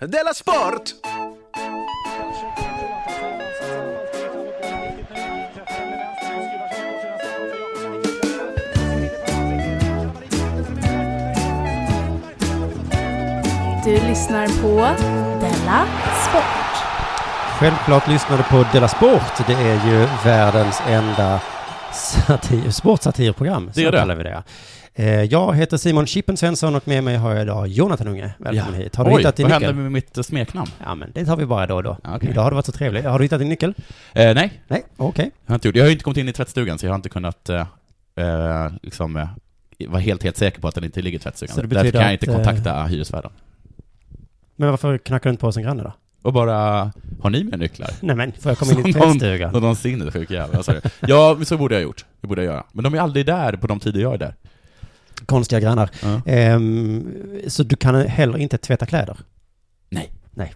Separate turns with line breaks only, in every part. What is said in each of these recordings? Della Sport!
Du lyssnar på Della Sport.
Självklart lyssnade på Della Sport. Det är ju världens enda satir, sportsatirprogram.
Det är det.
kallar vi det. Eh, Jag heter Simon Chippen Svensson och med mig har jag idag Jonathan Unge. Välkommen hit. Har du
Oj,
hittat din
vad
nyckel?
hände med mitt eh, smeknamn?
Ja, men det tar vi bara då och då.
Ja, okej.
Idag har du varit så trevlig. Har du hittat din nyckel?
Eh, nej,
Nej, okej.
jag har inte gjort. Jag har ju inte kommit in i tvättstugan, så jag har inte kunnat eh, eh, liksom, eh, vara helt, helt säker på att den inte ligger i tvättstugan.
Så det
Därför
betyder
kan jag inte
att, eh,
kontakta hyresvärden.
Men varför knackar du inte på hos en granne då?
Och bara, har ni mer nycklar?
Nej men, får jag komma in i din
Som
tvättstuga?
Någon, någon sinnessjuk jävel, alltså. Ja, men så borde jag ha gjort. Det borde jag göra. Men de är aldrig där på de tider jag är där.
Konstiga grannar.
Ja.
Ehm, så du kan heller inte tvätta kläder?
Nej.
Nej.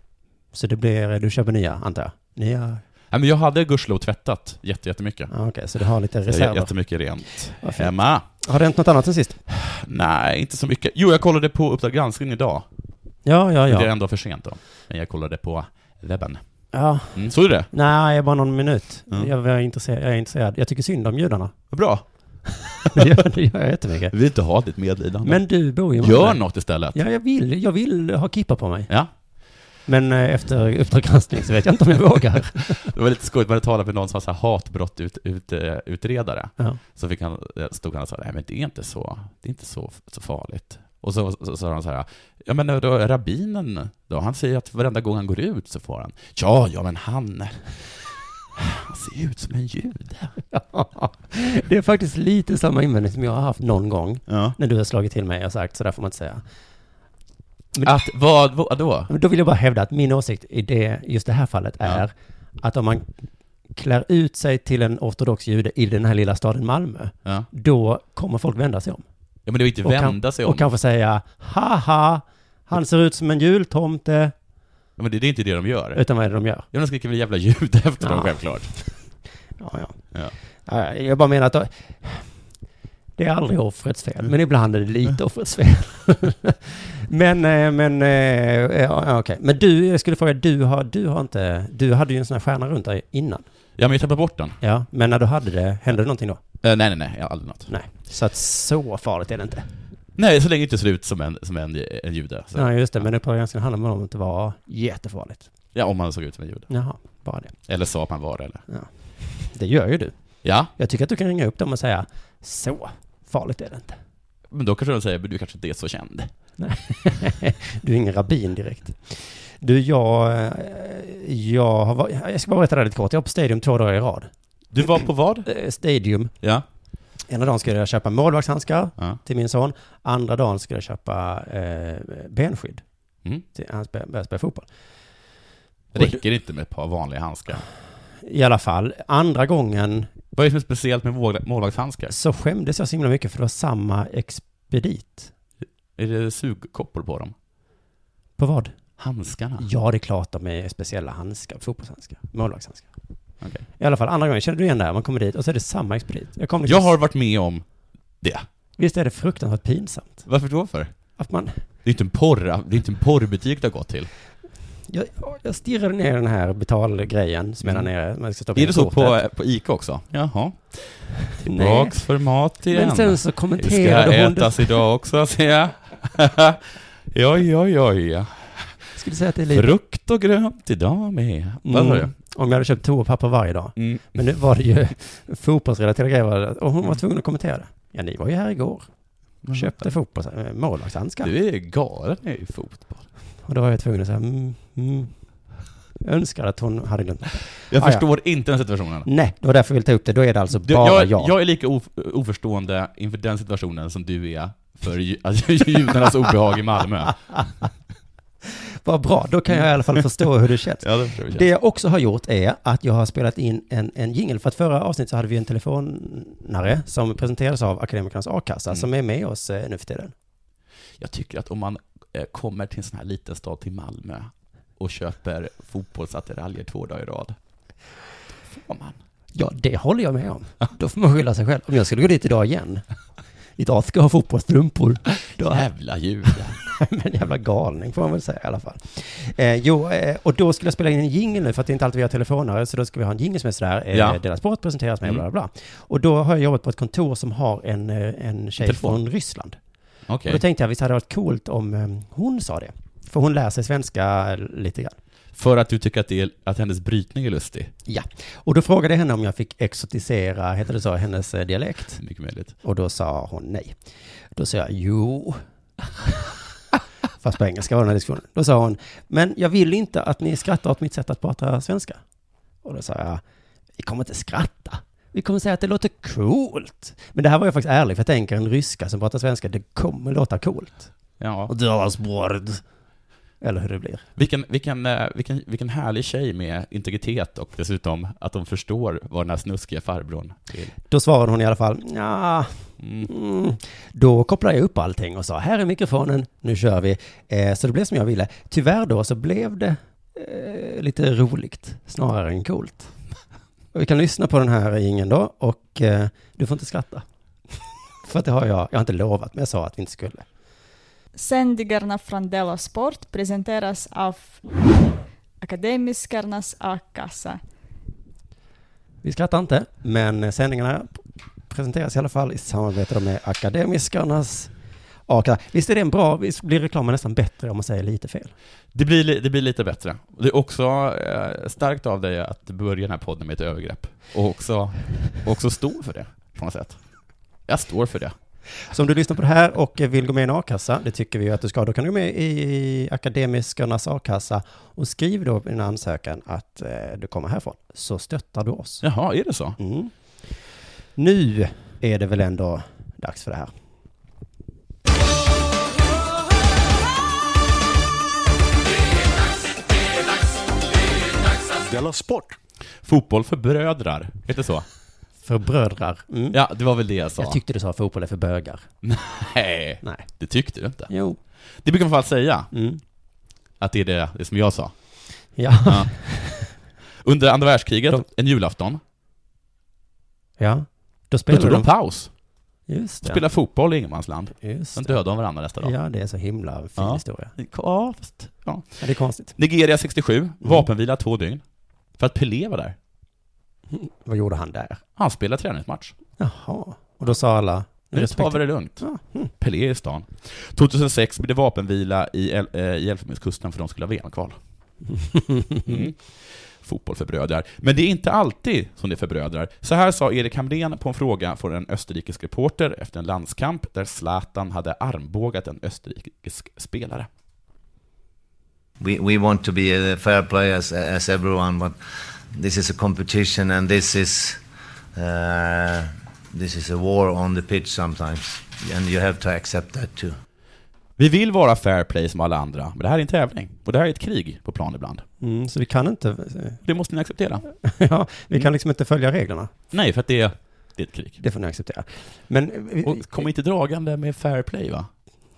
Så det blir, du köper nya, antar jag? Nya?
Nej, men jag hade gudskelov tvättat jätte, jättemycket.
Ja, Okej, så du har lite
J-
reserver?
Jättemycket rent.
Vad fint.
Hemma?
Har det hänt något annat sen sist?
Nej, inte så mycket. Jo, jag kollade på Uppdrag granskning idag.
Ja, ja,
Det är
ja.
ändå för sent då. Men jag kollade på webben.
ja.
Mm, såg du det?
Nej, bara någon minut.
Ja.
Jag, var intresserad, jag är intresserad. Jag tycker synd om judarna.
Vad bra.
Det gör, det gör jag jättemycket.
Vi vill inte ha ditt medlidande.
Men du bor ju i
Gör
Malmö.
något istället.
Ja, jag vill, jag vill ha kippa på mig.
Ja,
Men eh, efter Uppdrag granskning så vet jag inte om jag vågar.
det var lite skojigt, man hade talat med någon som var så här hatbrott ut, ut, eh, utredare.
Ja.
Så fick han, eh, stod han och sa, nej men det är inte så, det är inte så, så farligt. Och så så- så sa han så här, ja men då, rabbinen då, han säger att varenda gång han går ut så får han, ja, ja men han, han ser ju ut som en jude.
Det är faktiskt lite samma invändning som jag har haft någon gång.
Ja.
När du har slagit till mig och sagt så där får man inte säga.
Att vad, vad då?
Men Då vill jag bara hävda att min åsikt i det, just det här fallet är att om man klär ut sig till en ortodox jude i den här lilla staden Malmö,
Ja.
då kommer folk vända sig om.
ja men det var ju inte
kan-
vända sig om.
Och kanske säga haha, han ser ut som en jultomte.
Ja, men det, det är inte det de gör.
Utan vad är det de gör?
Ja, de skriker väl jävla ljud efter dem
Ja.
självklart.
Ja, ja.
Ja.
Ja, Jag bara menar att då- det är aldrig offrets fel, men ibland är det lite offrets fel. men, eh, men, eh, ja, ja, okej. Men du, jag skulle fråga, du har, du har inte, du hade ju en sån här stjärna runt dig innan.
Ja men jag tappade bort den.
Ja, men när du hade det, hände det någonting då?
Eh, nej, nej, nej, jag har aldrig något.
Nej. Så att så farligt är det inte.
Nej, så länge det inte ser ut som en, som en, en jude. Så,
Nej, just det, men det på ganska handlar om att det var jättefarligt.
Ja, om man såg ut som en jude.
Jaha, bara det.
Eller sa att man var det, eller.
Det gör ju du.
Ja,
Jag tycker att du kan ringa upp dem och säga, så farligt är det inte.
men då kanske de säger, men du kanske inte är så känd.
Du är ingen rabbin direkt. Du, jag, eh, jag har varit, jag ska bara berätta det här lite kort. Jag var på Stadium två dagar i rad.
Du var på vad?
Eh, Stadium,
Ja.
ena dagen skulle jag köpa målvaktshandskar
Ja.
till min son. Andra dagen skulle jag köpa eh, benskydd.
Mm.
Till, han spe- började spela fotboll.
Räcker det inte med ett par vanliga handskar?
I alla fall, andra gången
Vad är det som är speciellt med våg- målvaktshandskar?
så skämdes jag så himla mycket för det var samma expedit.
Är det sugkoppor på dem?
På vad?
Handskarna?
Ja, det är klart de är speciella handskar, fotbollshandskar, målvaktshandskar.
Okej.
I alla fall, andra gången känner du igen det här, man kommer dit och så är det samma expedit. Jag kom liksom
Jag har varit med om det.
Visst är det fruktansvärt pinsamt?
Varför då för?
Att man...
Det är inte en porr, det är inte en porrbutik du har gått till.
Jag, jag stirrade ner den här betalgrejen som är där
Mm.
nere. Man ska stoppa
Är
in
det så
kortet.
på, på ICA också? Jaha.
Nej.
Tillbaks för mat igen.
Men sen så
Det ska
kommenterade hon... Det,
ätas idag också, ser jag. Oj, oj, oj.
skulle säga att det är lite...
Frukt och grönt idag med. Mm. Vad sa du?
Mm, om jag hade köpt toapapper varje dag. Men nu var det ju fotbollsrelaterade grejer. var det. Och hon var tvungen att kommentera det. Ja, ni var ju här igår.
Mm.
Köpte fotbolls... eh, Målvaktshandskar.
Du är galen i fotboll.
Och då var jag tvungen att säga... Mm, mm. Jag önskar att hon hade glömt.
Jag
Ah, ja.
förstår inte den situationen.
Nej, det var därför jag ville ta upp det. Då är det alltså
Du,
bara
jag,
jag.
jag är lika of, oförstående inför den situationen som du är för ju- alltså, judarnas obehag i Malmö.
Vad bra, då kan jag i alla fall förstå hur det känns.
Ja, det förstår jag.
Det jag också har gjort är att jag har spelat in en, en jingel. För att förra avsnittet så hade vi en telefonare som presenterades av Akademikernas A-kassa
Mm.
som är med oss eh, nu för tiden.
Jag tycker att om man eh, kommer till en sån här liten stad, till Malmö, och köper fotbollsattiraljer två dagar i rad, då får man.
Ja, det håller jag med om. Då får man skylla sig själv. Om jag skulle gå dit idag igen. Idag ska jag ha fotbollsstrumpor. Då,
Jävla judar.
men jävla galning får man väl säga i alla fall. Eh, jo, eh, och då skulle jag spela in en jingle nu, för att det är inte alltid vi har telefonare, så då ska vi ha en jingle som är sådär, eh,
Ja.
Della Sport presenteras med,
Mm.
bla bla bla. Och då har jag jobbat på ett kontor som har en, eh, en tjej
Telefon.
från Ryssland.
Okej.
Och då tänkte jag, visst hade det varit coolt om eh, hon sa det? För hon lär sig svenska eh, lite grann.
För att du tycker att, det är, att hennes brytning är lustig?
Ja, och då frågade jag henne om jag fick exotisera, heter det så, hennes eh, dialekt.
Mycket möjligt.
Och då sa hon nej. Då sa jag jo. Fast på engelska var den här diskussionen. Då sa hon, men jag vill inte att ni skrattar åt mitt sätt att prata svenska. Och då sa jag, vi kommer inte skratta. Vi kommer säga att det låter coolt. Men det här var jag faktiskt ärlig, för jag tänker en ryska som pratar svenska, det kommer låta coolt.
Ja.
Och du har spård. Eller hur det blir.
Vilken, vilken, eh, vilken, vilken härlig tjej med integritet och dessutom att de förstår vad den här snuskiga farbrorn vill.
Då svarade hon i alla fall, ja,
Mm.
Mm. Då kopplade jag upp allting och sa här är mikrofonen, nu kör vi. Eh, så det blev som jag ville. Tyvärr då så blev det eh, lite roligt snarare än coolt. Och vi kan lyssna på den här ingen då och eh, du får inte skratta. För att det har jag, jag har inte lovat men jag sa att vi inte skulle.
Sändningarna från Della Sport presenteras av Akademiskarnas A-kassa.
Vi skrattar inte, men eh, sändningarna presenteras i alla fall i samarbete då med Akademiskarnas A-kassa. Visst är det en bra, visst blir reklamen nästan bättre om man säger lite fel?
Det, blir, li- det blir lite bättre. Det är också eh, starkt av dig att börja den här podden med ett övergrepp. Och också, också stå för det, på något sätt. Jag står för det.
Så om du lyssnar på det här och vill gå med i en a-kassa, det tycker vi ju att du ska, då kan du gå med i Akademiskernas a-kassa och skriv då i din ansökan att eh, du kommer härifrån, så stöttar du oss.
Jaha, är det så?
Mm. Nu är det väl ändå dags för det här.
Della Sport!
Fotboll för brödrar, heter det så?
För brödrar. Mm.
Ja, det var väl det jag sa.
Jag tyckte du sa fotboll är för bögar.
Nej,
Nej.
det tyckte du inte.
Jo.
Det brukar man i alla fall säga,
Mm.
att det är det, det som jag sa.
Ja.
Ja. Under andra världskriget, en julafton,
ja. Då
då
spelar
tog
de...
de paus.
Just det.
Spelade fotboll i ingenmansland.
Just
Sen
det.
dödade de varandra nästa dag.
Ja, det är så himla fin
Ja.
historia.
Ja, fast, ja.
Ja, det är konstigt.
Nigeria
Mm.
67, vapenvila två dygn. För att Pelé var där.
Mm. Vad gjorde han där?
Han spelade träningsmatch.
Jaha. Och då sa alla...
Nu tar vi det lugnt.
Ja, mm.
Pelé är i stan. 2006 blev det vapenvila i, El- eh, i Elfenbenskusten för de skulle ha VM-kval. Mm. Fotboll för brödrar. Men det är inte alltid som det är för brödrar. Så här sa Erik Hamrén på en fråga från en österrikisk reporter efter en landskamp där Zlatan hade armbågat en österrikisk spelare.
We, we want to be uh, fair play as, as everyone, but this is a competition and this is, uh, this is a war on the pitch sometimes. And you have to accept that too.
Vi vill vara fair play som alla andra, men det här är en tävling. Och det här är ett krig på plan ibland.
Mm, så vi kan inte...
Det måste ni acceptera.
Ja, vi
Mm.
kan liksom inte följa reglerna.
Nej, för att det är, det är ett krig.
Det får ni acceptera. Men... eh, vi-
Och kom inte dragande med fair play va?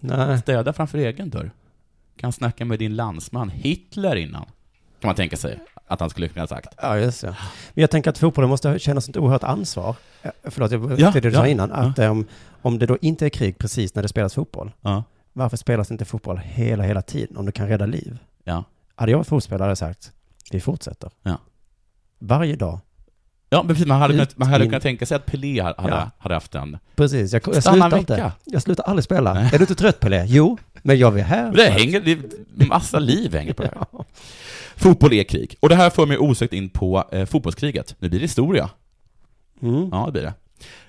nej.
Städa framför egen dörr. Kan snacka med din landsman Hitler innan. Kan man tänka sig att han skulle kunna ha sagt.
Ja, just det. Men jag tänker att fotbollen måste känna sånt oerhört ansvar. Eh, Förlåt, jag
Ja,
ja, det du sa
ja,
innan. Att eh, om, om det då inte är krig precis när det spelas fotboll,
Ja.
varför spelas inte fotboll hela, hela tiden om du kan rädda liv?
Ja.
Hade jag varit fotbollsspelare hade jag sagt, vi fortsätter.
Ja.
Varje dag.
Ja, men precis. Man hade,
Ut,
kunnat, man hade
in.
kunnat tänka sig att Pelé hade, hade-
Ja.
hade haft en...
Precis, jag, jag
Stanna en
slutar
vecka.
inte. Jag slutar aldrig spela.
Nej.
Är du inte trött Pelé? Jo, men jag är här.
Men det
för att-
hänger... Det är massa liv hänger på det här.
Ja.
Fotboll är krig. Och det här för mig osökt in på eh, fotbollskriget. Nu blir det historia.
Mm.
Ja, det blir det.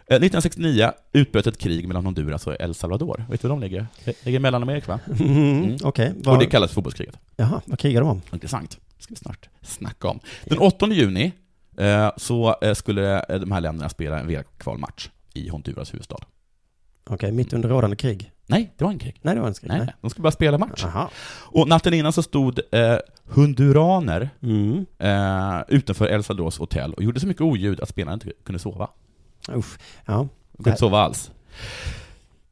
Eh, 1969 utbröt ett krig mellan Honduras och El Salvador. Vet du var de ligger? Det ligger i Mellanamerika, va?
Mm. Okej,
Och det
vad,
kallas fotbollskriget.
jaha, vad krigar de om?
Intressant. Det ska vi snart snacka om. Den 8 juni eh, så eh, skulle eh, de här länderna spela en VM-kvalmatch i Honduras huvudstad.
Okej, mitt under rådande krig.
Nej, det var en krig.
Nej, det var en skrik.
Nej, nej. de skulle bara spela match.
Aha.
Och natten innan så stod eh, hunduraner
Mm.
eh, utanför El Salvadors hotell och gjorde så mycket oljud att spelarna inte kunde sova.
Usch. Ja,
De kunde
Nej.
inte sova alls.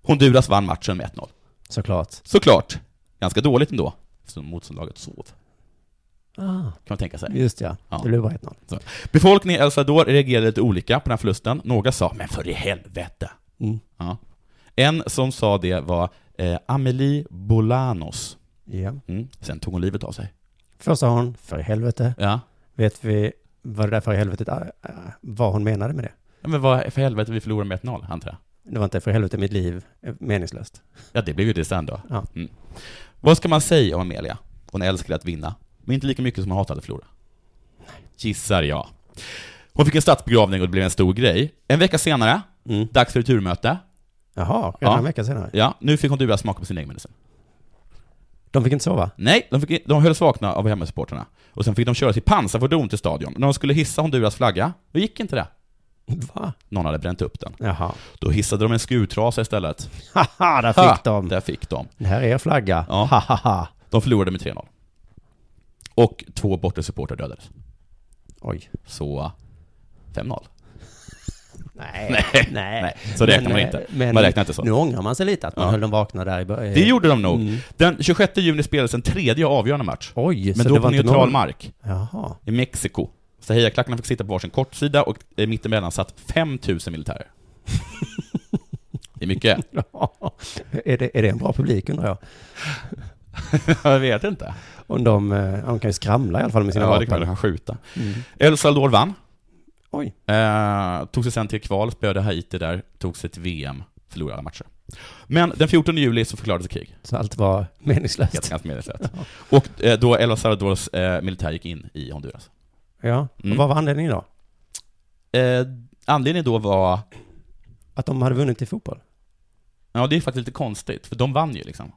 Honduras vann matchen med 1-0.
såklart.
Såklart, ganska dåligt ändå, eftersom motståndarlaget sov.
Ah.
Kan man tänka sig.
Just ja.
Ja.
Det blev bara 1-0.
Befolkningen i El Salvador reagerade lite olika på den här förlusten. Några sa ”men för i helvete”.
Mm.
Ja. En som sa det var Eh, Amelie Bolanos.
Ja.
Mm. Sen tog hon livet av sig.
Först sa hon, för i helvete.
Ja.
Vet vi vad det där för i helvetet, äh, äh, vad hon menade med det?
Ja, Men vad för helvete, vi förlorar med 1-0, antar jag.
Det var inte för helvete mitt liv är meningslöst.
Ja, det blev ju det sen då.
Ja.
Mm. Vad ska man säga om Amelia? Hon älskade att vinna, men inte lika mycket som hon hatade att förlora. Gissar jag. Hon fick en statsbegravning och det blev en stor grej. En vecka senare,
Mm.
dags för ett turmöte.
Jaha, redan
Ja.
en vecka senare.
Ja, nu fick hon smaka på sin egen medicin.
De fick inte sova.
Nej, de, fick, de hölls vakna av hemmasupportrarna. Och sen fick de köra sitt pansarfordon till stadion. När de skulle hissa Honduras flagga, då gick inte det.
Va?
Någon hade bränt upp den.
Jaha.
Då hissade de en skurtrasa istället.
Haha, där fick
Ha!
de.
Där fick de.
Det här är er flagga.
Ja.
Hahaha.
De förlorade med 3-0. Och två bortasupportrar dödades.
Oj.
Så 5-0.
Nej. Nej.
Nej, så räknar man
eh,
inte. Man räknar inte så.
Nu ångrar man sig lite att man
Ja.
höll dem vakna där i början.
Det gjorde de nog.
Mm.
Den 26 juni spelades en tredje och avgörande match.
Oj,
Men
så
då
det
på
var inte
neutral
någon-
mark,
Jaha.
i Mexiko. Så hejarklackarna fick sitta på varsin kortsida och eh, mittemellan satt 5000 militärer. Det är mycket.
Ja. Är det, är det en bra publik undrar jag?
Jag vet inte.
Om de, eh, de kan ju skramla i alla fall med sina
Ja, det kan
vapen.
man skjuta.
Mm.
El Salvador vann.
Oj.
Eh, tog sig sen till kval, spöade Haiti där, tog sig till VM, förlorade alla matcher. Men den 14 juli så förklarades krig.
Så allt var meningslöst.
Helt ganska meningslöst. Och eh, då El Salvadors eh, militär gick in i Honduras.
Ja.
Mm.
Och vad var anledningen då?
Eh, anledningen då var,
Att de hade vunnit i fotboll?
ja det är faktiskt lite konstigt, för de vann ju liksom.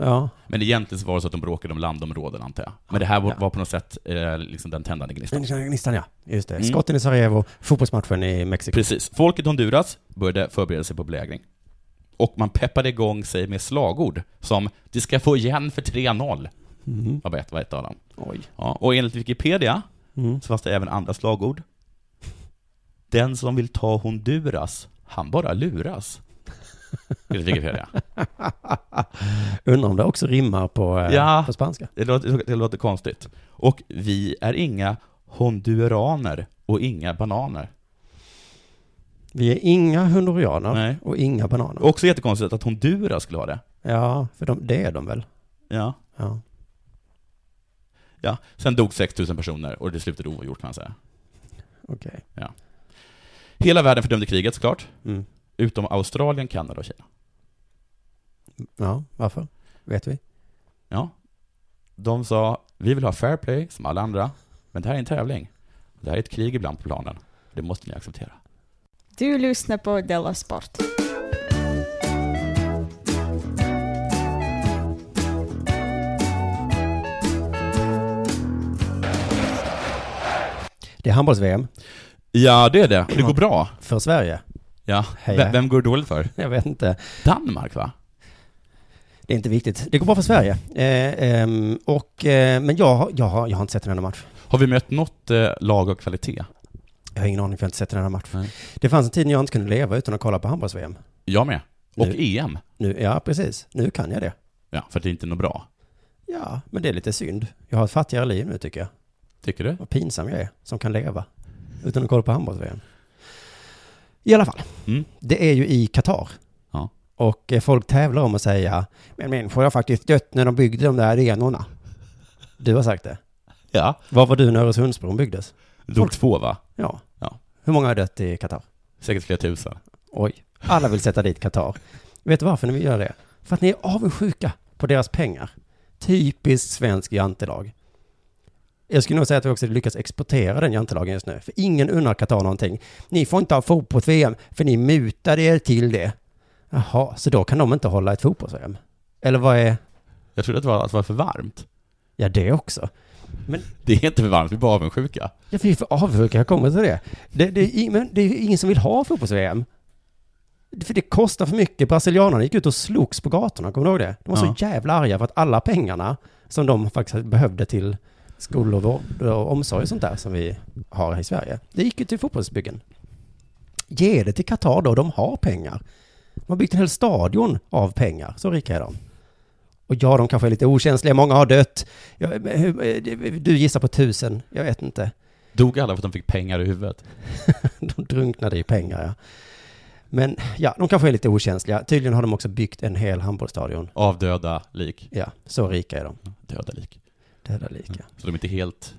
Ja.
Men egentligen så var det så att de bråkade om landområden antar jag. Men det här var, var på något sätt eh, liksom den tändande gnistan.
Den gnistan ja. Just det.
Mm.
Skotten i Sarajevo, fotbollsmatchen i Mexiko.
Precis. Folket i Honduras började förbereda sig på belägring. Och man peppade igång sig med slagord som ”Vi ska få igen för 3-0”
Mm.
var ett, var ett av dem.
Oj.
Ja, och enligt Wikipedia
Mm.
så fanns det även andra slagord. Den som vill ta Honduras, han bara luras. Enligt Wikipedia.
Undrar om det också rimmar på, eh,
Ja.
på spanska.
Det låter, det låter konstigt. Och vi är inga honduraner och inga bananer.
Vi är inga hondurianer
Nej.
och inga bananer.
Också jättekonstigt att Honduras skulle ha det.
Ja, för de, det är de väl?
Ja.
Ja.
ja. Sen dog 6 000 personer och det slutade oavgjort kan man säga.
Okej.
Hela världen fördömde kriget såklart,
Mm.
utom Australien, Kanada och Kina.
Ja, varför? Vet vi?
Ja. De sa, vi vill ha fair play som alla andra, men det här är en tävling. Det här är ett krig ibland på planen. Det måste ni acceptera.
Du lyssnar på Della Sport.
Det är handbolls-VM
Ja, det är det. Och det går bra.
för Sverige.
Ja.
Heja.
Vem, vem går det dåligt för?
Jag vet inte.
Danmark, va?
Det är inte viktigt. Det går bra för Sverige. Eh, ehm, och, eh, men jag, har- jag, har, jag har inte sett en enda match.
Har vi mött något eh, lag av kvalitet?
Jag har ingen aning för jag har inte sett en enda match.
Nej.
Det fanns en tid när jag inte kunde leva utan att kolla på handbolls-VM.
Jag med. Och
Nu.
EM.
Nu, ja, precis. Nu kan jag det.
Ja, för att det inte är något bra.
Ja, men det är lite synd. Jag har ett fattigare liv nu tycker jag.
Tycker du?
Vad pinsam jag är som kan leva utan att kolla på handbolls-VM. I alla fall,
Mm.
det är ju i Qatar.
Ja.
Och eh, folk tävlar om att säga, men människor har faktiskt dött när de byggde de där arenorna. Du har sagt det.
Ja.
Var var du när Öresundsbron byggdes?
Dog två, va?
Ja.
Ja.
Hur många har dött i Qatar?
Säkert flera tusen.
Oj. Alla vill sätta dit Qatar. Vet du varför ni vill göra det? För att ni är avundsjuka på deras pengar. Typiskt svensk jantelag. Jag skulle nog säga att vi också lyckas exportera den jantelagen just nu. För ingen unnar Qatar någonting. Ni får inte ha fotbolls-VM, för ni mutade er till det. Jaha, så då kan de inte hålla ett fotbolls-VM? Eller vad är...
Jag trodde att det var, att det var för varmt.
Ja, det också.
Det är inte för varmt, vi är bara avundsjuka.
Ja, vi är för avundsjuka, jag kommer till det. Det, det, är i- men det är ingen som vill ha fotbolls-VM. För det kostar för mycket. Brasilianerna gick ut och slogs på gatorna, kommer du ihåg det? De var
Ja.
så jävla arga för att alla pengarna som de faktiskt behövde till skolor vård och omsorg och sånt där som vi har här i Sverige. Det gick ju till fotbollsbyggen. Ge det till Qatar då, de har pengar. De har byggt en hel stadion av pengar, så rika är de. Och ja, de kanske är lite okänsliga, många har dött. Jag, men hur- eh, du gissar på tusen, jag vet inte.
Dog alla för att de fick pengar i huvudet?
De drunknade i pengar, ja. Men ja, de kanske är lite okänsliga. Tydligen har de också byggt en hel handbollsstadion.
Av döda lik.
Ja, så rika är de.
Döda lik.
Döda lika.
Så de är inte helt...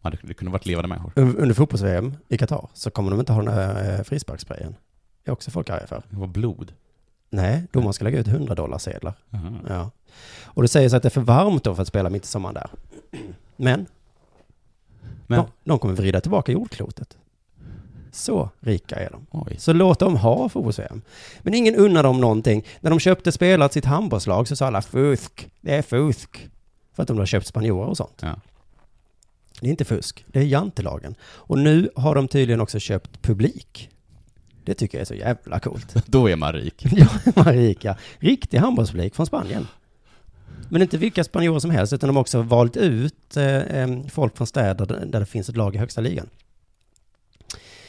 Man hade, det kunde varit levande människor.
Un- Under fotbolls-VM i Qatar så kommer de inte ha den här eh, frisparkssprayen. Det är också folk arga för.
Det var blod.
Nej, domaren ska lägga ut 100 dollar sedlar.
Aha.
Ja. Och det sägs att det är för varmt då för att spela mitt i sommaren där. Men,
Men,
De, de kommer vrida tillbaka jordklotet. Så rika är de.
oj.
Så låt dem ha fotbolls-VM. Men ingen unnar dem någonting. När de köpte spelare till sitt handbollslag så sa alla fusk, det är fusk. För att de har köpt spanjorer och sånt.
Ja.
Det är inte fusk, det är jantelagen. Och nu har de tydligen också köpt publik. Det tycker jag är så jävla coolt.
Då är man rik.
Ja, Marika. Riktig handbollspublik från Spanien. Men inte vilka spanjorer som helst, utan de har också valt ut eh, eh, folk från städer där där det finns ett lag i högsta ligan.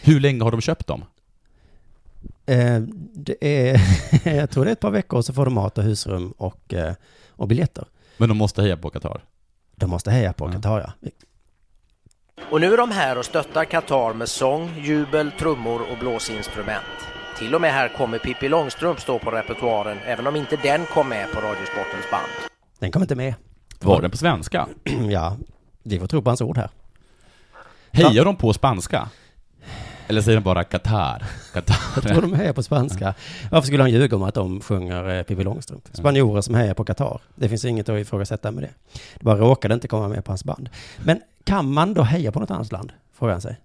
Hur länge har de köpt dem?
Eh, det är, jag tror det är ett par veckor, så får de mat och husrum och, eh, och biljetter.
Men de måste heja på Qatar.
De måste heja på
Ja.
Qatar, ja.
Och nu är de här och stöttar Qatar med sång, jubel, trummor och blåsinstrument. Till och med här kommer Pippi Långstrump stå på repertoaren, även om inte den kom med på Radiosportens band.
Den kommer inte med.
Var den på svenska?
ja, vi får tro på hans ord här.
Hejar de på spanska? Eller säger de bara Qatar?
Jag tror
Qatar?
de hejar på spanska. Varför skulle han ljuga om att de sjunger eh, Pippi Långstrump? Spanjorer som hejar på Qatar. Det finns inget att ifrågasätta med det. Det bara råkade inte komma med på hans band. Men kan man då heja på något annat land? Frågar han sig.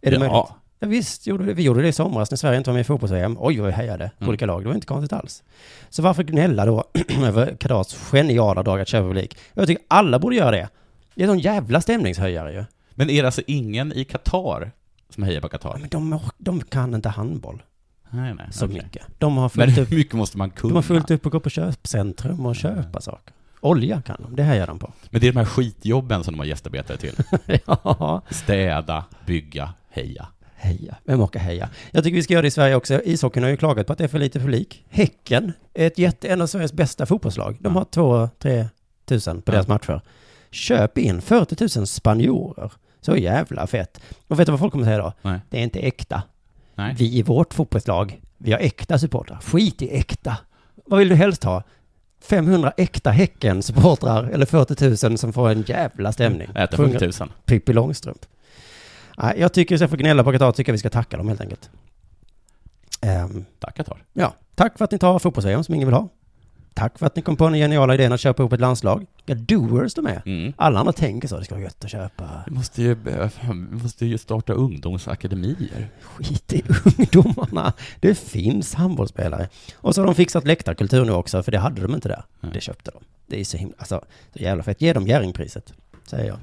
Är det
Ja.
möjligt? Ja, visst, gjorde vi, vi gjorde det i somras när Sverige inte var med i fotbolls-VM. Oj, vad vi hejade
Mm.
på olika lag. Det var inte konstigt alls. Så varför gnälla då över Qatars geniala drag att köra publik? Jag tycker alla borde göra det. Det är en jävla stämningshöjare ju.
Men är det alltså ingen i Qatar som hejar på
Ja,
Qatar?
Men de, ork- de kan inte handboll
Nej, nej.
så
okej.
mycket. De har
Men
fullt upp
hur mycket måste man kunna?
De har fullt upp och gå på köpcentrum och köpa saker. Olja kan de, det hejar de på.
Men det är de här skitjobben som de har gästarbetare till.
ja,
Städa, bygga, heja.
heja. Vem orkar heja? Jag tycker vi ska göra det i Sverige också. Ishockeyn har ju klagat på att det är för lite publik. Häcken är ett jätte, en av Sveriges bästa fotbollslag. De har två, tre tusen på
Ja.
deras matcher. Köp in 40 000 spanjorer. Så jävla fett. Och vet du vad folk kommer säga då?
Nej.
Det är inte äkta.
Nej.
Vi i vårt fotbollslag, vi har äkta supportrar. Skit i äkta. Vad vill du helst ha? 500 äkta Häcken-supportrar eller 40 000 som får en jävla stämning.
Äta
Sjunger
40 000.
Pippi Långstrump. Nej, jag tycker istället för att gnälla på Qatar tycker jag vi ska tacka dem helt enkelt. Ehm,
Tack Qatar.
ja, tack för att ni tar fotbolls som ingen vill ha. Tack för att ni kom på den geniala idén att köpa upp ett landslag. Ja, doers de är.
Mm.
Alla andra tänker så, det ska vara gött att köpa.
Vi måste ju, vi måste ju starta ungdomsakademier.
Skit i ungdomarna. Det finns handbollsspelare. Och så har de fixat läktarkultur nu också, för det hade de inte där.
Nej.
Det köpte de. Det är så himla, alltså, så jävla fett. Ge dem Jerringpriset, säger jag.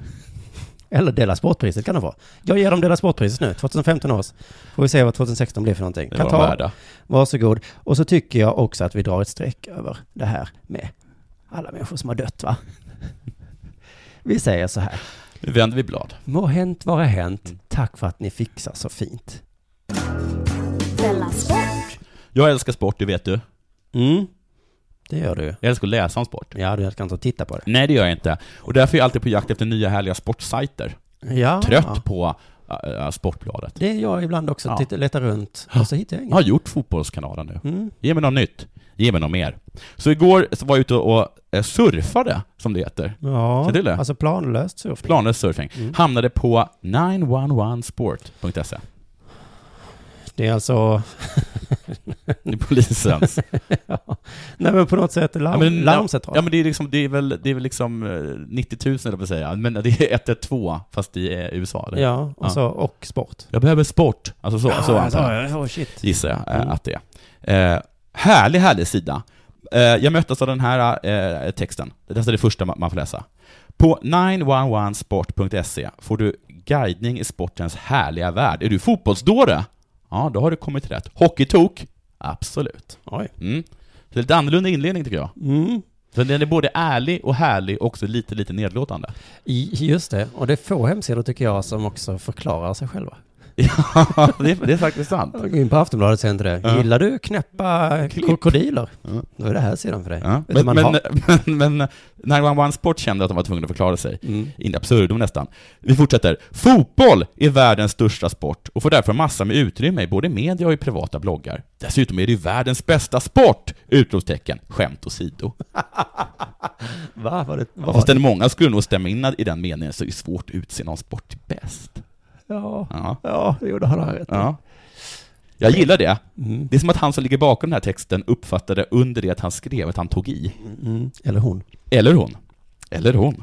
Eller Dela Sportpriset kan de få. Jag ger dem Dela Sportpriset nu, 2015 års. Får vi se vad 2016 blir för någonting.
Det var de värda.
varsågod. Och så tycker jag också att vi drar ett streck över det här med alla människor som har dött, va? Vi säger så här.
Nu vänder vi blad.
Må hänt vara hänt.
Mm.
Tack för att ni fixar så fint.
Della Sport.
Jag älskar sport, det vet du.
Mm. Det gör du ju.
Jag älskar att läsa om sport.
Ja, du kan inte titta på det.
Nej, det gör jag inte. Och därför är jag alltid på jakt efter nya härliga sportsajter.
Ja.
Trött på äh, äh, Sportbladet.
Det är jag ibland också.
Ja.
Titta, letar runt och så hittar jag
Jag
inget.
har gjort Fotbollskanalen nu.
Mm.
Ge mig något nytt. Ge mig något mer. Så igår så var jag ute och eh, surfade, som det heter.
Ja,
Ser du det?
alltså planlöst surfning.
Planlös surfing.
Mm.
Hamnade på 911sport.se.
Det är alltså...
Det är polisens.
Nej, men på något sätt larm,
Ja, men-
larmcentral.
ja men det är, liksom, det är väl, det är väl liksom eh, 90 000 eller vad säga. Men det är 112 fast i eh, USA. Eller?
Ja, och,
Ja.
Så, och sport.
Jag behöver sport. Alltså så, så antar jag.
jag. Oh, shit.
gissar jag eh,
Mm.
att det är. Eh, härlig, härlig sida. Eh, jag möttes av den här eh, texten. Det är alltså det första ma- man får läsa. På 911sport.se E får du guidning i sportens härliga värld. Är du fotbollsdåre? Ja, då har du kommit rätt. Hockeytok? Absolut.
Oj.
Mm. Så det är lite annorlunda inledning tycker jag.
Mm.
Så den är både ärlig och härlig och också lite, lite nedlåtande.
I- Just det. Och det är få hemsidor, tycker jag, som också förklarar sig själva.
Ja, det är, det är faktiskt sant.
Gå in på Aftonbladet sen till det.
Ja.
Gillar du knäppa
Klipp.
krokodiler?
Ja.
Då är det här sidan för dig.
Ja.
Vet du,
Men,
man
men,
har-
men, men 911 Sport kände att de var tvungna att förklara sig.
Mm.
In absurdum nästan. Vi fortsätter. Fotboll är världens största sport och får därför massa med utrymme i både media och i privata bloggar. Dessutom är det ju världens bästa sport! Utropstecken. Skämt åsido.
Va? Var det, var
Fast
det?
den många skulle nog stämma in i den meningen, så det är svårt att utse någon sport till bäst.
Ja.
Ja.
ja, det gjorde han rätt i.
ja. Jag gillar det.
Mm.
Det är som att han som ligger bakom den här texten uppfattade under det att han skrev att han tog i.
Mm. Eller hon.
Eller hon. Eller hon.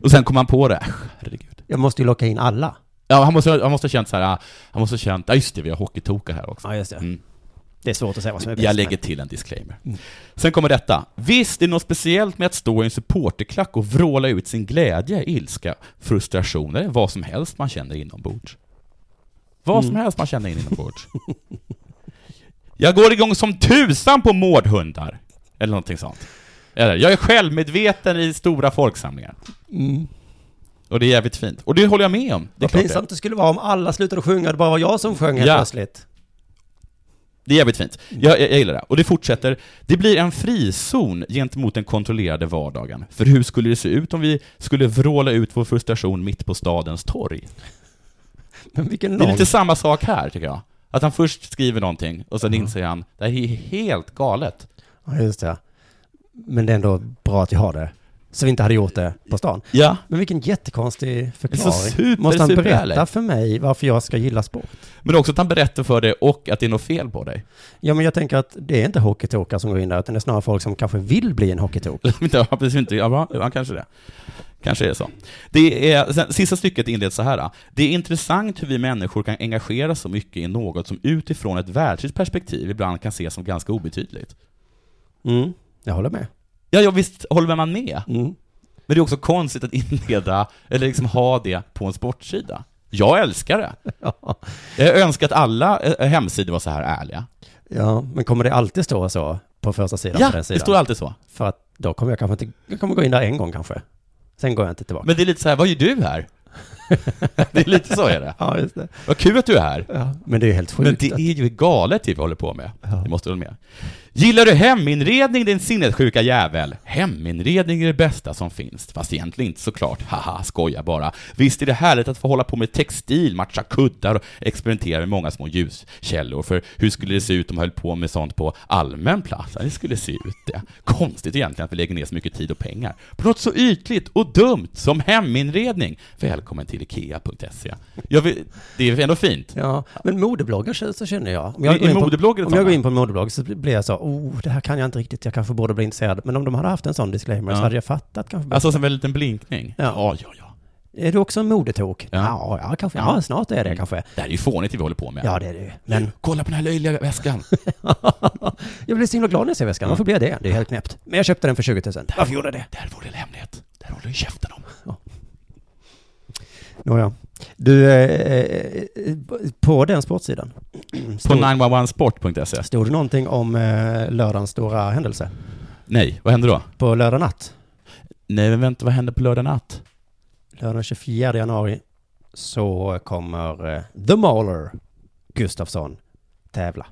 Och sen kom han på det. Äsch, Herregud.
Jag måste ju locka in alla.
Ja, han måste, han måste ha känt så här, ah, han måste ha känt, ja just det, vi har hockeytokar här också.
Ja, just det.
Mm.
Det är svårt att säga vad som är Mm. bäst.
Jag lägger till en disclaimer. Sen kommer detta. Visst är det något speciellt med att stå i en supporterklack och vråla ut sin glädje, ilska, frustration eller vad som helst man känner inombords. Vad som
Mm.
helst man känner in inombords. jag går igång som tusan på mårdhundar. Eller någonting sånt. Eller, jag är självmedveten i stora folksamlingar. Och det är jävligt fint. Och det håller jag med om. Det är,
Vad
klart det.
pinsamt Mm. det skulle vara om alla slutade sjunga, det bara var jag som sjöng helt
Ja.
plötsligt.
det är jävligt fint. Jag, jag, jag gillar det. Och det fortsätter. Det blir en frizon gentemot den kontrollerade vardagen. För hur skulle det se ut om vi skulle vråla ut vår frustration mitt på stadens torg?
Men vilken
Det är
lång...
lite samma sak här, tycker jag. Att han först skriver någonting, och sen inser han, det här är helt galet.
Ja, just det. Men det är ändå bra att jag har det. Så vi inte hade gjort det på stan.
Ja.
Men vilken jättekonstig förklaring.
super,
Måste han
super
berätta
härligt.
för mig varför jag ska gilla sport?
Men också att han berättar för dig och att det är något fel på dig.
Ja, men jag tänker att det är inte hockeytokar som går in där, utan det är snarare folk som kanske vill bli en hockeytok.
Inte, ja, precis inte. Ja, va? ja, kanske det. Kanske är det så. Det är, sen, sista stycket inleds så här. då. Det är intressant hur vi människor kan engagera så mycket i något som utifrån ett världsligt perspektiv ibland kan ses som ganska obetydligt.
Mm. Jag håller med.
Ja, ja visst håller man med.
Mm.
Men det är också konstigt att inleda, eller liksom ha det på en sportsida. Jag älskar det.
Ja.
Jag önskar att alla eh, hemsidor var så här ärliga.
ja, men kommer det alltid stå så på första sidan?
Ja,
på den
det
sidan?
står alltid så.
För att då kommer jag kanske inte, jag kommer gå in där en gång kanske. Sen går jag inte tillbaka.
Men det är lite så här, vad gör du här? det är lite så är det.
ja, just det.
Vad kul att du är här.
Ja. Men det är ju helt
Men
sjukt.
det är
att-
ju galet det vi håller på med.
Ja.
Det måste du hålla med. Gillar du heminredning din sinnessjuka jävel? Heminredning är det bästa som finns. Fast egentligen inte såklart. Haha, skoja bara. Visst är det härligt att få hålla på med textil, matcha kuddar och experimentera med många små ljuskällor. För hur skulle det se ut om man höll på med sånt på allmän plats? Ja, Det skulle se ut det. Konstigt egentligen att vi lägger ner så mycket tid och pengar på något så ytligt och dumt som heminredning. Välkommen till Ikea.se. E. Jag vill, det är ändå fint.
Ja, men modebloggar så, så känner jag. Om
I-
jag, går
i
in på,
modebloggen,
om jag
Tommy?
går in på en modeblogg så blir jag så, oh, det här kan jag inte riktigt, jag kanske borde bli intresserad. Men om de hade haft en sån disclaimer
Ja.
så hade jag fattat kanske.
Alltså som en liten blinkning?
Ja.
ja, ja. ja.
Är du också en modetok?
Ja.
Ja, ja, kanske. Ja, snart är det kanske.
Det här är ju fånigt det vi håller på med.
Ja, det är det ju. Men
Kolla på den här löjliga väskan.
jag blev så himla glad när jag ser väskan. Varför blir jag det? Det är helt knäppt. Men jag köpte den för 20 000. Varför gjorde jag det?
Där vore det en hemlighet. Där håller du käften om.
Nåja. Du, eh, eh, eh, på den sportsidan.
På
Stod,
911sport.se?
stod det någonting om eh, lördagens stora händelse?
Nej, vad händer då?
På lördag natt?
Nej, men vänta, vad händer på lördag natt?
Lördag den 24 januari så kommer eh, The Mauler Gustafsson tävla.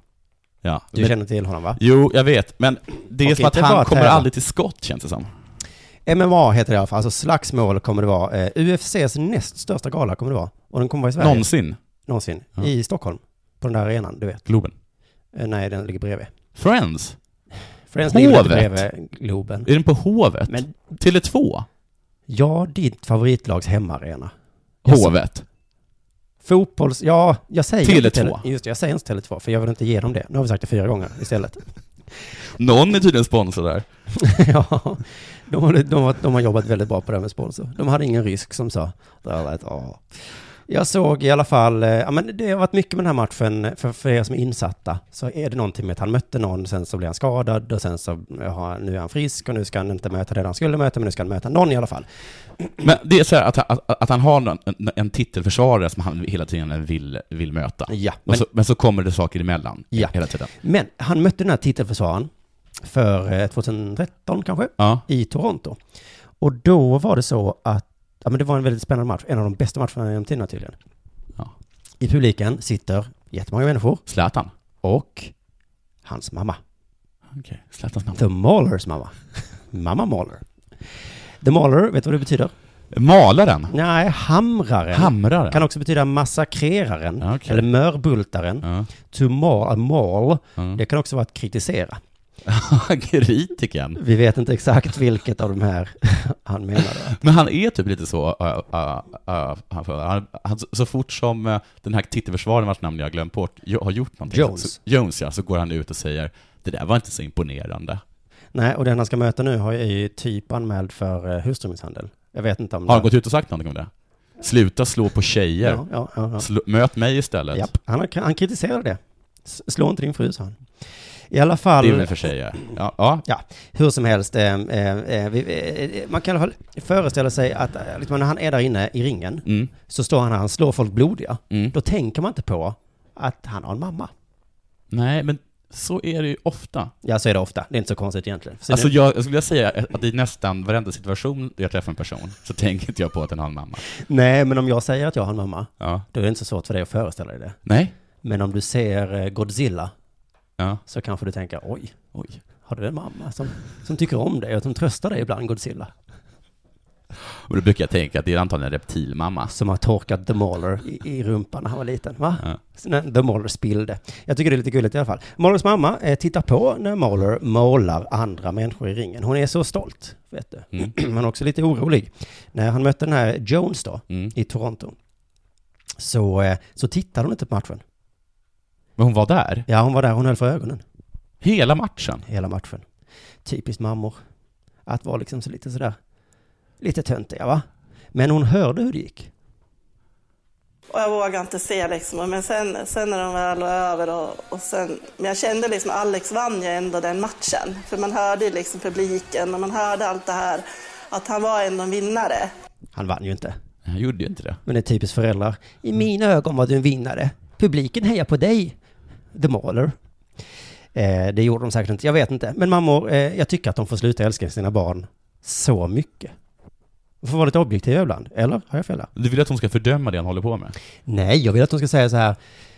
Ja.
Du
men,
känner till honom va?
Jo, jag vet, men det är
Och
som att
inte bara
han kommer
tävla.
aldrig till skott, känns det som.
MMA heter det i alla fall, alltså slagsmål kommer det vara. Eh, UFCs näst största gala kommer det vara. Och den kommer vara i Sverige.
Någonsin.
någonsin.
Ja.
I Stockholm. På den där arenan, du vet.
Globen.
Eh, nej, den ligger bredvid.
Friends?
Friends ligger lite
Hovet.
bredvid Globen.
Är den på Hovet?
Men
Tele2?
ja, ditt favoritlags hemmaarena. Jag sa-
Hovet?
Fotbolls... Ja, jag säger inte
Tele2.
Just det, jag säger inte Tele2, för jag vill inte ge dem det. Nu har vi sagt det fyra gånger istället.
Någon är tydligen sponsor där.
ja, de har, de, har, de har jobbat väldigt bra på det här med sponsor. De hade ingen rysk som sa det här lät, åh. Jag såg i alla fall, eh, ja men det har varit mycket med den här matchen, för, för er som är insatta, så är det någonting med att han mötte någon, sen så blev han skadad och sen så, ja, nu är han frisk och nu ska han inte möta den han skulle möta, men nu ska han möta någon i alla fall.
Men det är så här att, han- att, att han har någon, en, en titelförsvarare som han hela tiden vill, vill möta.
Ja,
Men,
men,
så, men så kommer det saker emellan
Ja.
hela tiden.
men han mötte den här titelförsvararen för eh, 2013 kanske?
Ja.
i Toronto. Och då var det så att, ja men det var en väldigt spännande match, en av de bästa matcherna genom tiderna tydligen.
Ja.
I publiken sitter jättemånga människor
Zlatan?
och hans mamma.
Okej, Zlatans namn.
The Maulers mamma. Mamma Mauler. The Mauler, vet du vad det betyder?
Malaren?
Nej, hamraren.
Hamraren?
Kan också betyda massakreraren,
Ja, okej.
eller mörbultaren.
Ja.
To maul, maul.
Mm.
Det kan också vara att kritisera.
Kritikern.
Vi vet inte exakt vilket av de här han menade.
Men han är typ lite så, äh, äh, äh, han, han, han, så fort som äh, den här titelförsvararen vars namn jag har glömt bort, jo- har gjort någonting.
Jones.
Så, Jones ja, så går han ut och säger det där var inte så imponerande.
Nej, och den han ska möta nu har ju typ anmäld för eh, hustrumisshandel. Jag vet inte om
Har han
det...
gått ut och sagt någonting om det? Sluta slå på tjejer.
Ja, ja, ja, ja.
Slå, möt mig istället.
Japp, han, har, han kritiserade det. S- Slå inte din fru, sa han. I alla fall...
Det är väl för tjejer. Ja, ja.
Ja, hur som helst. Eh, eh, eh, vi, eh, eh, man kan i alla fall föreställa sig att eh, liksom, när han är där inne i ringen
Mm.
så står han här, han slår folk blodiga.
Mm.
Då tänker man inte på att han har en mamma.
Nej, men så är det ju ofta.
Ja, så är det ofta. Det är inte så konstigt egentligen. Så
Alltså
nu,
jag, jag skulle säga att i nästan varenda situation där jag träffar en person så tänker inte jag på att den har en mamma.
Nej, men om jag säger att jag har en mamma,
Ja.
då är det inte så svårt för dig att föreställa dig det.
Nej.
Men om du ser eh, Godzilla
Ja.
så kanske du tänker, oj,
Oj.
har du en mamma som, som tycker om dig och som tröstar dig ibland, Godzilla?
Och då brukar jag tänka att det är antagligen en reptilmamma.
Som har torkat The Mauler i, i rumpan när han var liten, va?
Ja.
När The Mauler spillde. Jag tycker det är lite gulligt i alla fall. Maulers mamma eh, tittar på när Mauler målar andra människor i ringen. Hon är så stolt, vet du.
Mm.
Men också lite orolig. När han mötte den här Jones då,
Mm.
i Toronto, så, eh, så tittade hon inte på matchen.
Men hon var där
Ja, hon var där, hon höll för ögonen
hela matchen.
hela matchen. Typiskt mammor. Att vara liksom så lite sådär, lite töntiga va? Men hon hörde hur det gick.
Och jag vågade inte se liksom. Men sen, sen när de väl var över och, och sen... Men jag kände liksom Alex vann ju ändå den matchen. För man hörde ju liksom publiken och man hörde allt det här. Att han var ändå en vinnare.
Han vann ju inte.
Jag gjorde ju inte det.
Men det är typiskt föräldrar.
Mm.
I mina ögon var du en vinnare. Publiken hejar på dig. The Maler. Eh, det gjorde de säkert inte, jag vet inte. Men mammor, eh, jag tycker att de får sluta älska sina barn så mycket. De får vara lite objektiva ibland, eller? Har jag fel där?
Du vill att hon ska fördöma det han håller på med?
Nej, jag vill att de ska säga så här.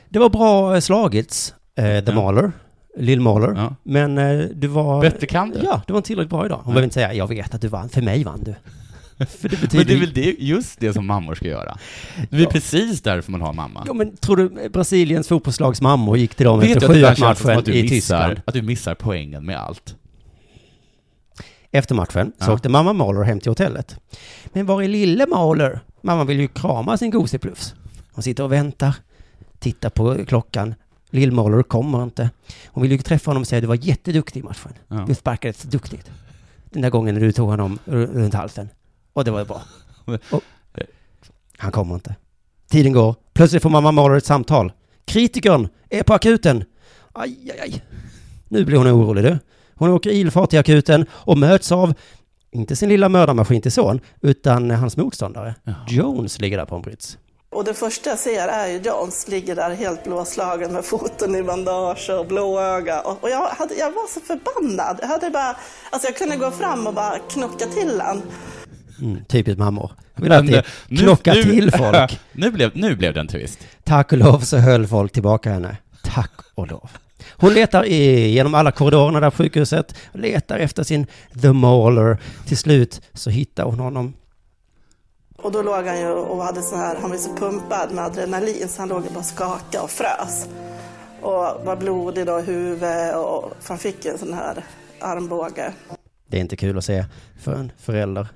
Det var bra eh, slagits, eh, The
Ja.
Maler, Lill Maler.
Ja.
Men eh, du var...
Bättre kan du.
Ja, du var inte tillräckligt bra idag. Hon behöver inte säga, jag vet att du vann, för mig vann du. för det betyder
Men det är
ju-
väl det, just det som mammor ska göra? Det är väl precis därför man har mamma.
Ja, men tror du Brasiliens fotbollslags mammor gick till dem
Vet
efter
du att det där känns som att
matchen
du
i Tyskland?
missar, att du missar poängen med allt?
Efter matchen så
Ja.
åkte mamma Mahler hem till hotellet. Men var är lille Mahler? Mamma vill ju krama sin gosepluffs. Hon sitter och väntar, tittar på klockan. Lill Mahler kommer inte. Hon vill ju träffa honom och säga du var jätteduktig i matchen.
Ja.
Du sparkade så duktigt. Den där gången när du tog honom r- runt halsen. Och det var bra. Och, han kommer inte. Tiden går. Plötsligt får mamma Mahler ett samtal. Kritikern är på akuten. Aj, aj, aj. Nu blir hon orolig du. Hon åker ilfart till akuten och möts av, inte sin lilla mördarmaskin till son, utan hans motståndare. Jones ligger där på en brits.
Och det första jag ser är ju Jones ligger där helt blåslagen med foten i bandage och blå öga. Och, och jag, hade, jag var så förbannad. Jag, hade bara, alltså jag kunde gå fram och bara knocka till han.
Mm, typiskt mammor. Vill
Men,
alltid
eh, nu-
knocka
nu-
till folk.
nu, blev, nu blev det en twist.
Tack och lov så höll folk tillbaka henne. Tack och lov. Hon letar i, genom alla korridorerna där på sjukhuset, letar efter sin The Mauler. Till slut så hittar hon honom.
Och då låg han ju och hade sån här, han var ju så pumpad med adrenalin så han låg och bara skakade och frös. Och var blodig då i huvudet och för han fick en sån här armbåge.
Det är inte kul att se för en förälder.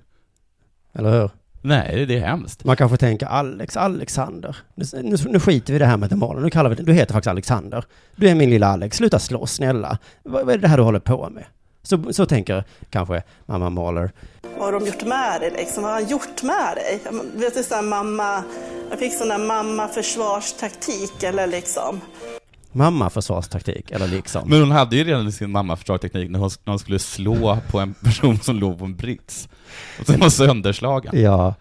Eller hur?
Nej, det är hemskt.
Man kanske tänker Alex, Alexander. Nu, nu, nu skiter vi i det här med demalen. Nu kallar vi det. Du heter faktiskt Alexander. Du är min lilla Alex. Sluta slåss, snälla. Vad, vad är det här du håller på med? Så, så tänker kanske mamma Mahler.
Vad har de gjort med dig liksom? Vad har han gjort med dig? Ja, men, Vet du sån här mamma, jag fick sån där mamma försvarstaktik eller liksom.
Mamma försvarstaktik, eller liksom.
Men hon hade ju redan sin mamma förslagsteknik när hon, när hon skulle slå på en person som låg på en brits. Och sen var sönderslagen.
Ja,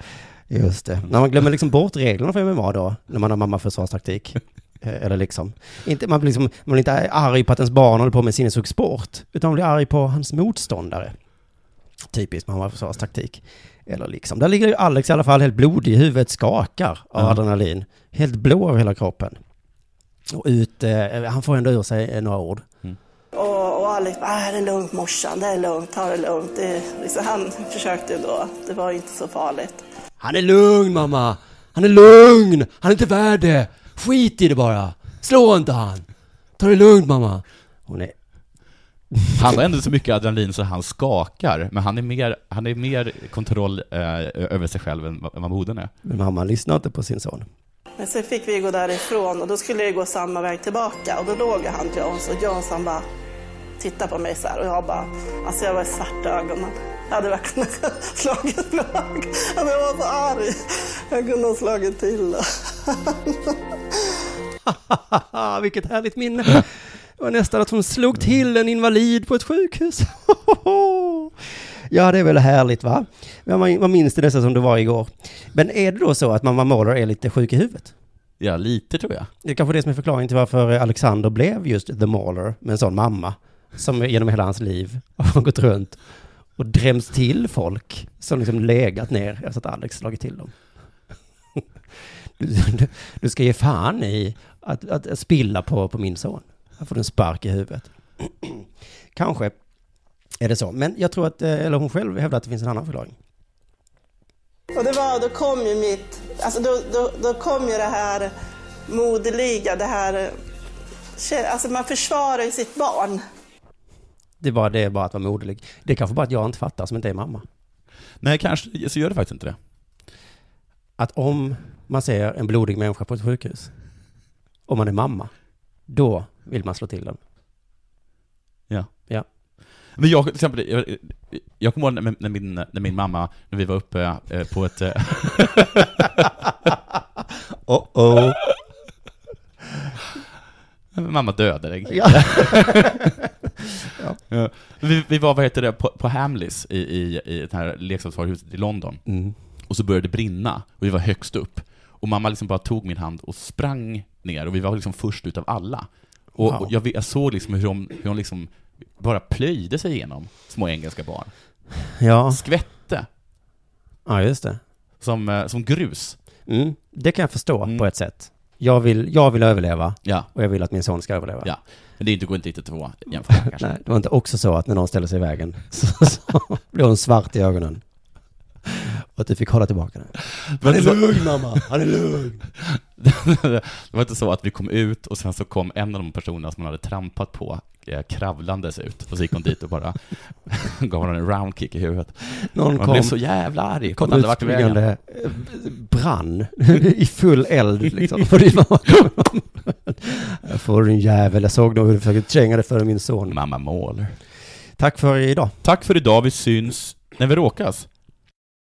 just det. När man glömmer liksom bort reglerna för MMA då, när man har mammaförsvarstaktik. Eh, Eller liksom. Inte, man, blir liksom, man blir inte arg på att ens barn håller på med sinnessjuk sport, utan man blir arg på hans motståndare. Typiskt mamma-försvarstaktik. Eller liksom. Där ligger ju Alex i alla fall helt blodig i huvudet, skakar av
Ja.
adrenalin. Helt blå över hela kroppen. Och ut, eh, han får ändå ur sig eh, några ord.
Och, och Alex bara, "Ah, det är lugnt morsan, det är lugnt, ta det lugnt. Det, liksom, han försökte ju då, det var ju inte så farligt.
Han är lugn mamma! Han är lugn! Han är inte värd det! Skit i det bara! Slå inte han! Ta det lugnt mamma! Hon är...
Han har ändå så mycket adrenalin så han skakar, men han är mer, han är mer kontroll eh, över sig själv än vad, än vad modern är.
Men mamman lyssnar inte på sin son.
Men sen fick vi gå därifrån och då skulle jag gå samma väg tillbaka och då låg ju han Jones och Jones han bara tittade på mig så här och jag bara, alltså jag var i svarta ögonen. Jag hade verkligen slagit lag. Jag var så arg. Jag kunde ha slagit till.
Haha, vilket härligt minne! Det var nästan att hon slog till en invalid på ett sjukhus. Ja, det är väl härligt va? Men man, man minns det nästan som det var igår. Men är det då så att mamma Måler är lite sjuk i huvudet?
Ja, lite tror jag.
Det är kanske det som är förklaringen till varför Alexander blev just The Mauler med en sån mamma som genom hela hans liv har gått runt och drämts till folk som liksom legat ner efter att Alex slagit till dem. Du, du, du ska ge fan i att, att spilla på, på min son. Här får du en spark i huvudet. Kanske är det så, men jag tror att, eh, eller hon själv hävdar att det finns en annan förklaring.
Och det var, då kom ju mitt, alltså då, då, då kom ju det här moderliga, det här, alltså man försvarar ju sitt barn.
Det är bara, det är bara att vara moderlig. Det är kanske bara att jag inte fattar som inte är mamma.
Nej, kanske, så gör det faktiskt inte det.
att om man ser en blodig människa på ett sjukhus, om man är mamma, då vill man slå till den.
Ja.
Ja.
Men jag, till exempel, jag, jag kommer ihåg när, när, min, när min mamma, när vi var uppe eh, på ett... eh,
Oh-oh.
mamma dödade dig.
Ja.
Ja. Vi, vi var, vad heter det, på, på Hamleys i, i, i det här leksaksvaruhuset i London.
Mm.
Och så började det brinna, och vi var högst upp. Och mamma liksom bara tog min hand och sprang ner, och vi var liksom först utav alla. Och,
Wow.
och jag, vet- jag såg liksom hur hon, hur hon liksom bara plöjde sig igenom små engelska barn.
Ja.
Skvätte,
ja, just det.
som, eh, som grus.
Mm. Det kan jag förstå
Mm.
på ett sätt. Jag vill, jag vill överleva
Ja,
och jag vill att min son ska överleva.
Ja. men det är inte- går inte riktigt att jämföra kanske.
Nej, det var inte också så att när någon ställde sig i vägen så, så blev hon svart i ögonen. Och att du fick hålla tillbaka den.
Men det var-
mamma, han är lugn.
det var inte så att vi kom ut och sen så kom en av de personerna som man hade trampat på eh, kravlandes ut och så gick hon dit och bara gav honom en roundkick i huvudet.
Någon
Man blev
kom,
så jävla arg.
kom
Kolla, vart i vägen.
utspringande, eh, b- brann i full eld liksom. För din mamma. Jag får du en jävel, jag såg nog hur du försökte tränga dig före
Mm.
min son.
Mamma mål.
Tack för idag.
Tack för idag, vi syns när vi råkas.